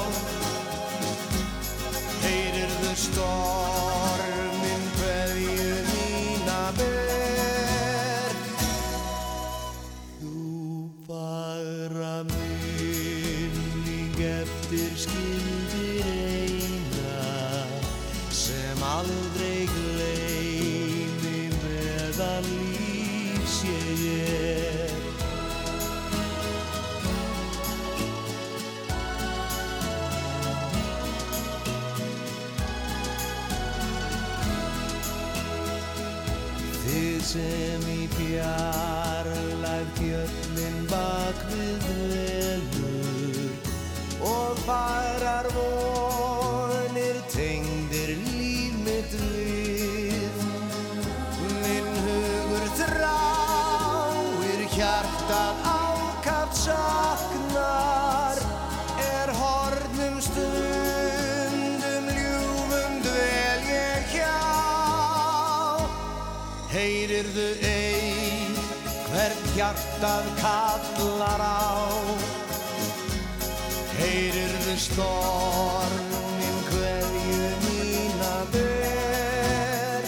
Heyrirðu stormin hverju mína ber Þú fagra minning eftir skildir eina sem aldrei gleymi meðan lífs ég er. Þið sem í fjarlæg fjöllin bak við velur og farar vonir tengdir líf mitt við. Minn hugur þráir hjartað ákaft saknar er hornum stundum ljúfum dvel ég hjá. Heyrirðu ei hvert hjartað kallar á Heyrirðu stormin hverju mína ber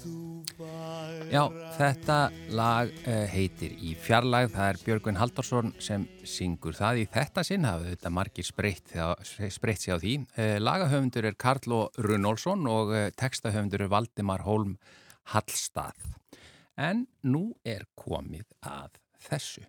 Þú bara Já, Þetta lag eh, heitir Í fjarlæg, það er Björgvin Halldórsson sem syngur það í þetta sinn hafði þetta margir spreitt, þegar- spreitt sig á því. Eh, Lagahöfundur er Karlo Runolfsson og eh, textahöfundur er Valdimar Holm Hallstað. En nú er komið að þessu.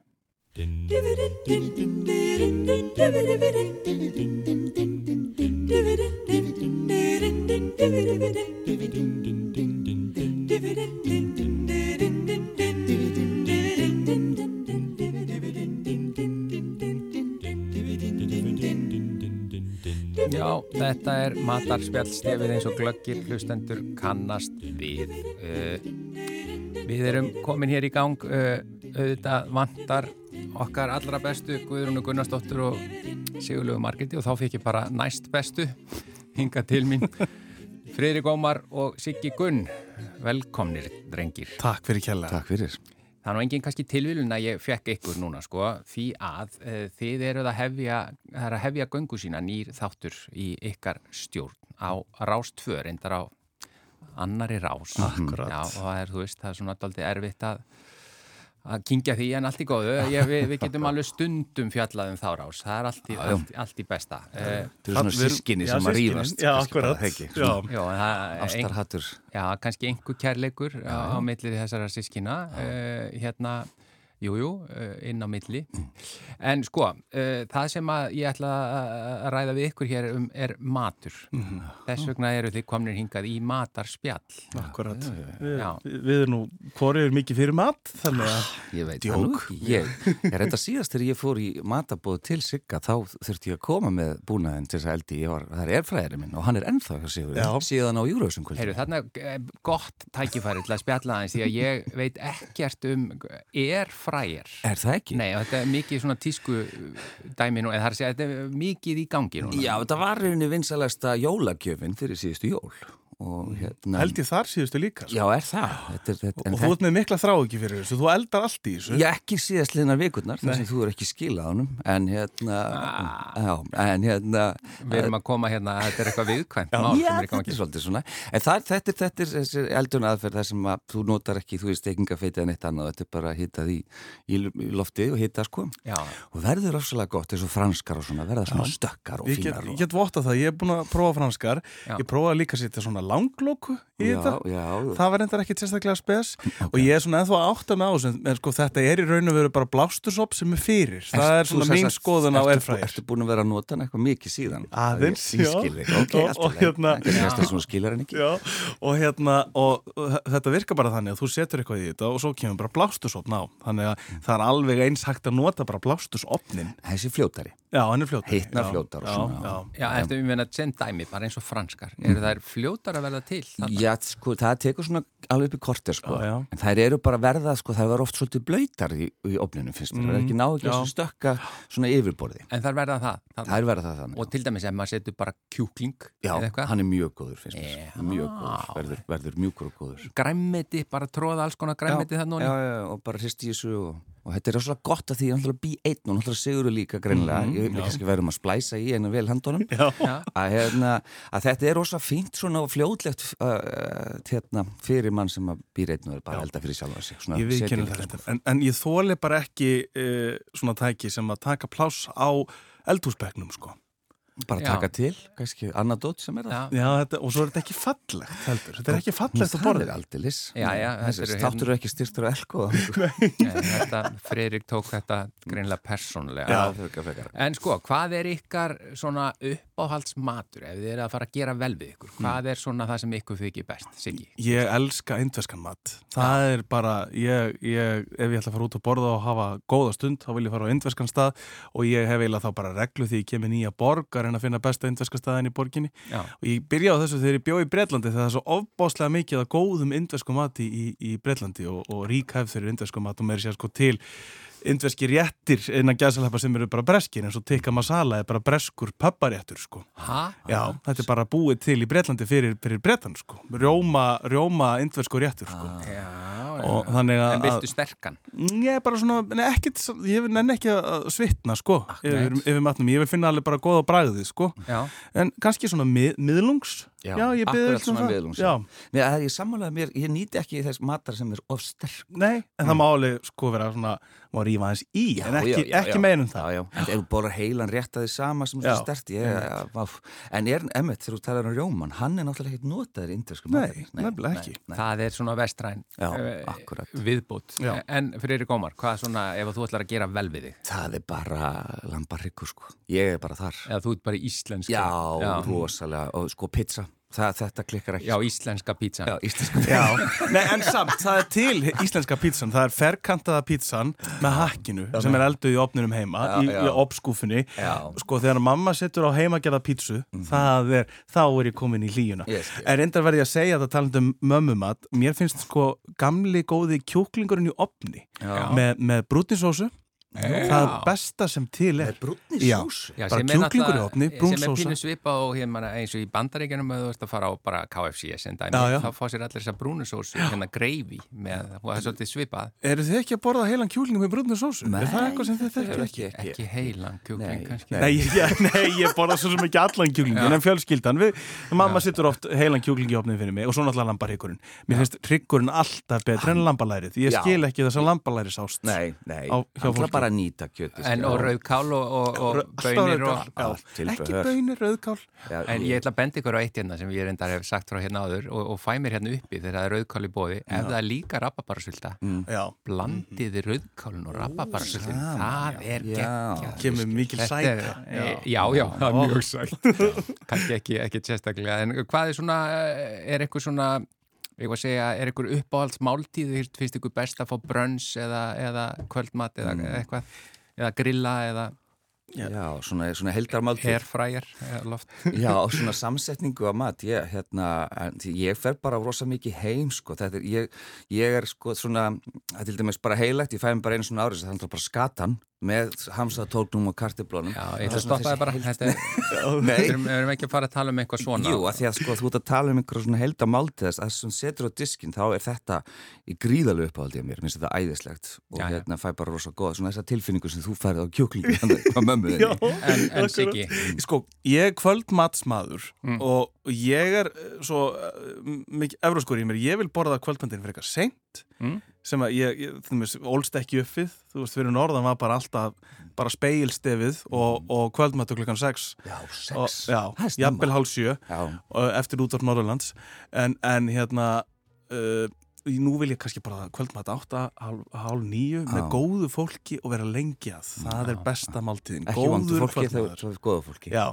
Já, þetta er matarspjallstefið eins og glöggir hlustendur kannast við. Uh, við erum komin hér í gang, uh, auðvitað vantar okkar allra bestu Guðrúnu Gunnarsdóttur og Sigurlegu Margreti og þá fikk ég bara næst bestu hinga til mín. Friðrik Ómar og Siggi Gunn, velkomnir drengir. Takk fyrir kjalla Takk fyrir Það er nú enginn kannski tilvílun að ég fekk ykkur núna sko, því að uh, þið eruð að hefja, það er að hefja göngu sína nýr þáttur í ykkar stjórn á rás tvö, reyndar á annari rás. Akkúrat. Já, og það er, þú veist, það er svona daldið erfitt að að kynkja því en allt í góðu ég, við, við getum alveg stundum fjallað um þá rás það er allt í, allt, allt í besta uh, Þau eru Við svona erum- sískinni já, sem að systkinin, rífast Já, kannski bara, akkurat það ekki? Já, já, en það er ein- Ástarhattur Já, kannski einhver kærleikur á, á milli þessara sískina uh, hérna, jújú, jú, uh, inn á milli en sko, uh, það sem að ég ætla að ræða við ykkur hér um er matur Mhm. þess vegna eru þið komnir hingað í matarspjall akkurat Já. Við við erum nú, hvori er mikið fyrir mat Þannig að Ah, Ég veit Djók. það nú ekki Ég er þetta síðast þegar ég fór í matabóð til Sigga þá þurfti ég að koma með búnaðin til þess að eldi ég var, það er erfræðari minn og hann er ennþá hjá Já. Sigurður síðan á Júruðsum kvöldi Heyrðu, þarna er gott tækifæri til að spjalla aðeins því að ég veit ekkert um er fræjar Er það ekki? Nei, og þetta er mikið svona tísku dæmi nú, en það er að segja, þetta er mikið í gangi núna Já, þetta var rauninni vinsalasta jólagjöfin fyrir síðustu jól og Mhm. hérna held ég þar síðustu líka sko. Já, er það? Þetta er, þetta, en Og þú ert með mikla þrá ekki fyrir þessu Þú eldar allt í þessu Já, ekki síðast liðnar vikurnar, þar sem þú er ekki skilað honum, en hérna, já, en hérna, Ah. Við erum að koma hérna, þetta er eitthvað viðkvæmt já, mál sem er í þetta gangi. er svolítið svona, en það, er- þetta, er- þetta er þessi eldun aðferð þar sem að þú notar ekki, þú veist, ekkingarfeitið en eitt annað, þetta er bara að hitta því í, í loftið og hitta sko, Já. og verður ofsalega gott eins og franskar og svona, verða svona stökkar og Ég get, fínar ég og... get votta það, ég er búin að prófa franskar Já. Ég prófaði líka að setja svona langlóku í Já, þetta já, Það var reyndar ekkit sérstaklega spes og ég er svona ennþá að átta með á þessu en sko þetta er í raun og veru bara blástusopp sem er fyrir það er Þú svona sem mín sagt- skoðun á ertu- erfræðir Ertu búin að vera að nota hann eitthvað mikið síðan? Aðeins, já. já. Ískilvik, ok, Og- allt og í lagi. hérna- Það er þess að svona skilar hann ekki. Já, og hérna, og uh, þetta virkar bara þannig að þú setur eitthvað í þetta og svo kemur bara blástursopn á þannig að það er alveg eins hægt að nota bara blástursopnin Þessi fljótari. Já, hann er fljótar Hitnar Já, fljótar og já, svona. já. Já, eftir við menna sem dæmi, bara eins og franskar. Mm. Eru þær fljótar að verða til? þarna? Já, sko, það tekur svona alveg upp í kortir, sko. Já, já. En þær eru bara að verða, sko, það var oft svolítið blöytar í, í opninu, finnst mér. Mm, Það er ekki náðu ekki já. þessu stökka svona yfirborði. En þær verða það. það. Það er verða það þannig. Og til dæmis ef maður setur bara kjúkling já, eða eitthvað. hann er mjög góður, finnst mér. Já. Mjög góður, verður, verður mjúkur og góður. Græmmeti, bara tróða alls konar græmmeti þannig. já, já, og bara hristi í þessu og, og þetta er rosalega gott að því ég er náttúrulega B1 og náttúrulega Sigurður líka greinlega mm, ég vil kannski verðum að splæsa í einu vel handunum að, hérna, að þetta er rosalega fínt svona og fljótlegt uh, hérna, fyrir mann sem að býr einn og er bara að elda fyrir sjálfa sig svona, sko. Ég setja viðkynna líka þetta smá- en, en ég þóli bara ekki uh, svona tæki sem að taka pláss á eldhúsbekknum sko bara Já. taka til, kannski annadót sem er Já, það Já, þetta, og svo er þetta ekki fallegt heldur Þetta er ekki fallegt að Það er borða aldeilis Já, já, Þessi þetta eru Þáttur er ekki styrtur á elko en þetta, Friðrik tók þetta greinlega persónlega. En sko, hvað er ykkar svona uppáhaldsmatur ef þið eru að fara að gera vel við ykkur? Mm. Hvað er svona það sem ykkur þykir best, Siggi? Ég elska indveskan mat. Það er bara, ég, ég, ef ég ætla að fara út að borða og hafa góða stund, þá vil ég fara á indveskan stað og ég hef eiginlega þá bara reglu því ég kemur nýja borg að reyna að finna besta indveska staðin í borginni. Já. Og ég byrja á þessu þegar ég bjóð í Breitlandi þegar það er svo ofbáslega mikið að góðum indvesku mati í, í Breitlandi og, og rík hefð fyrir indvesku mat og meður sér sko til indveski réttir innan gæðsalappa sem eru bara breskir eins og tikka masala er bara breskur pöpparéttur sko. Ha? Já, þetta er bara búið til í Breitlandi fyrir, fyrir Breitan, sko. Rjóma, rjóma indversku réttur, sko. Ah, Já, Og þannig að... En viltu sterkan? Mm, Ég er bara svona, nei, ekkit, ég vil nenni ekki að svitna, sko, yfir, yfir matnum. Ég vil finna alveg bara góða bragðið, sko. Já. En kannski svona mið, miðlungs, Já, ég byrði Akkurat svona viðlungs um Já, Nei, það er ég sammálaði mér, ég nýti ekki þess matar sem er of sterk Mm. nei, en það má alveg sko vera svona, má rífa aðeins í Já, en ekki, já, já, ekki já. meina um Já, það já, en ef þú borðar heilan rétt að þið sama sem Já. það stert ég, já, váf. En er, emmitt, þegar þú talar um rjóman hann er náttúrulega ekkert notaður í indversku Nei, nefnilega ekki. nei, Það er svona vestræn Já, eh, akkurat. viðbót. Já. En fyrir Eirik Ómar, hvað er svona ef þú ætlar að gera vel við þig? Það er bara lambarryggur sko Ég er bara þar Eða þú ert bara íslensk. Já, rosalega, og sko pizza það, Þetta klikkar ekki sko. Já, íslenska pítsan. Já, íslenska Já, nei, en samt, það er til íslenska pítsan, það er ferkantaða pítsan með hakkinu sem er elduð í opninum heima, í, Já, í já. opskúfunni Já. sko þegar mamma setur á heimagerða pítsu Mhm. það er, þá er ég komin í hlíuna Ég skil. en reyndar verði ég að segja þetta talandi um mömmumat, mér finnst sko gamli góði kjúklingurinn í opni Já. með, með brúnisósu það er besta sem til er Með brúnni Já. sós Já, bara sem er kjúklingur í náttúrulega- opni, sem er brúnsósa pínu svipað og hérna, eins og í bandaríkjanum að þú ert að fara á bara KFC sem dæmi, Já, já. þá fá sér allir þessa brúnusós hérna greifi með, og það er svolítið svipað eru þið ekki að borða heilan kjúklingum með brúnisósu? er það eitthvað sem þið þekkið ekki? ekki, ekki. ekki heilan kjúkling Nei, kannski Nei, ég- já, nei, ég borða svo sem ekki allan kjúklingin en fjölskyldan, við, mamma sittur oft heilan kjúklingi í opnið fyrir mig og svo náttúrulega lambarhyggurinn mér finnst hryggurinn alltaf betri en lambalærið ég Já. skil ekki þess að lambalæri sást Nei, nei, Á- hjá hann ætlar fólki. bara að nýta kjöti en og rauðkál og, og, og bönir og, Allt já, til ekki behör. bönir, rauðkál en ég ætla að benda ykkur á eitt hérna sem ég reyndar hef sagt frá hérna áður og, og fæ mér hérna uppi þegar það er rauðkál í bóði ef það er líka rababarasölda Mm. já, blandiði rauðkálun og rababarasöldin það er Já. geggjað kemur mikil Þetta er- sæta e, Já, já, það er mjög sætt kannski ekki, ekki sérstaklega en hvað er svona, eh, er eitthvað svona ég var að segja, er eitthvað uppáhalds máltíð finnst ykkur best að fá brönns eða, eða kvöldmat eða Mm. eitthvað eða grilla eða Já, svona, svona heldarmáltíð airfryer eða loft Já, svona samsetningu af mat ég, hérna, en því ég fer bara rosa mikið heim, sko, þetta er ég, ég er sko svona, það er til dæmis bara heilagt, ég fæði bara einu svona árið, það er náttúrulega bara skatan með hamsatóknum og kartiblónum Já, ég ætla að stoppa það bara Þetta er- Nei. Við erum- við erum ekki að fara að tala um eitthvað svona Jú, að því að sko þú ert að tala um einhverja svona helda máltíðast að sem setur á diskinn, þá er þetta í gríðalegu uppáhaldið mér, minnst þetta æðislegt og Já, já. hérna fæ bara rosa góð, svona þessa tilfinningu sem þú færið á kjúklingu á mömmu þinni En, en Siggi, sko, ég er kvöldmatsmaður Mm. og ég er eh, svo eh, mikið evróskur í mér, ég vil borða kvöldmændin fyrir eitthvað seint Mm. sem að ég, ég þú veist, ólst ekki upp við þú veist, fyrir norðan var bara alltaf bara speilstefið og, og kvöldmættu klukkan 6 Mm. Já, og, sex já, Það er snemma. jafnvel hálf 7 Já, eftir út af Norðurlands en, en hérna uh, nú vil ég kannski bara kvöldmætt 8 hálf, hálf 9 með Já. góðu fólki og vera lengi að það er besta máltíðin, ekki vondu góður fólki eh, þegar kvöldmættur þú ert góðu fólki Já,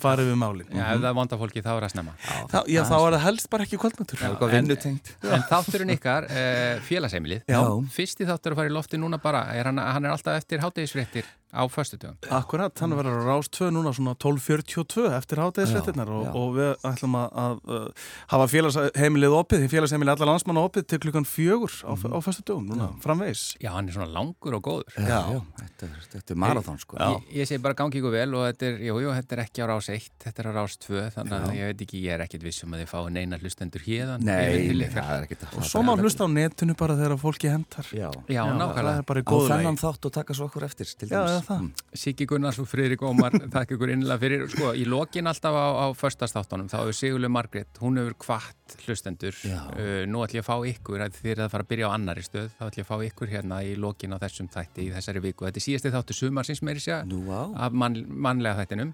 farið við málin já, Mhm. ef það er vonda fólki þá er það snemma Þá, já, þá er það helst bara ekki kvöldmættur Eitthvað vinnutengt En þátturinn ykkar, uh, félagseimilið Já. Fyrsti þáttur að fara í lofti núna bara er hann, hann er alltaf eftir hátegisfréttir á föstudögum Akkurat, hann verður að rást 2 núna svona 12.42 eftir hátegisvettirnar og, já. og við ætlum að, að uh, hafa félagsheimilið opið, því félagsheimilið allar landsmanna opið til klukkan fjögur á, á fyrstu dögum núna, framvegis Já, hann er svona langur og góður Mhm. Já, já. Þetta, er- þetta er marathón sko Ég, ég segi bara gangi ykkur vel og þetta er, jú, jú, þetta er ekki á rás 1, þetta er á rás 2 þannig að ég veit ekki, ég er ekkit vissum að þið fá neina hlustendur hérðan Nei, nei, það er ekki og svo má hlusta á netinu bara þegar fólki hentar Já, Já, það nákvæmlega. er bara í á góðu þennan lagi þátt og taka svo okkur eftir til Já, já, dæmis það. Mm. Siggi Gunnars og Friðrik Ómar þakka ykkur innlega fyrir, sko, í lokin alltaf á, á förstastáttunum, þá hefur Sigurlega Margrét hún hefur kvart hlustendur Já. uh, nú ætlum ég að fá ykkur, að þið er að fara að byrja á annari stöð, þá ætlum ég að fá ykkur hérna í lokin á þessum þætti, í þessari viku þetta er síðasti þáttu sumarsins meiri sér Nú á af mann, mannlega þættinum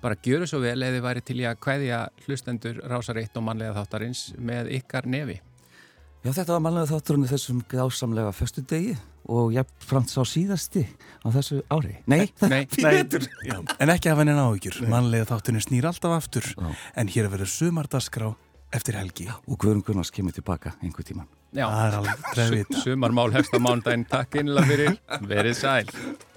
bara gjöru svo vel eða þið væri til í að kveðja hlustendur rásareitt og mannlega þáttarins með ykkar nefi Já, þetta var mannlega þátturinn í þessum gásamlega föstu degi og ég framt sá síðasti á þessu ári Nei, Nei, Nei, já, en ekki hafa henni áhyggjur, mannlega þáttinu snýr alltaf aftur en hér verður sumardagskrá eftir helgi og Guðrun Gunnars kemur tilbaka einhver tíman já, það er alveg trefið sumarmál hefst á mándaginn takk innlega fyrir, verið sæl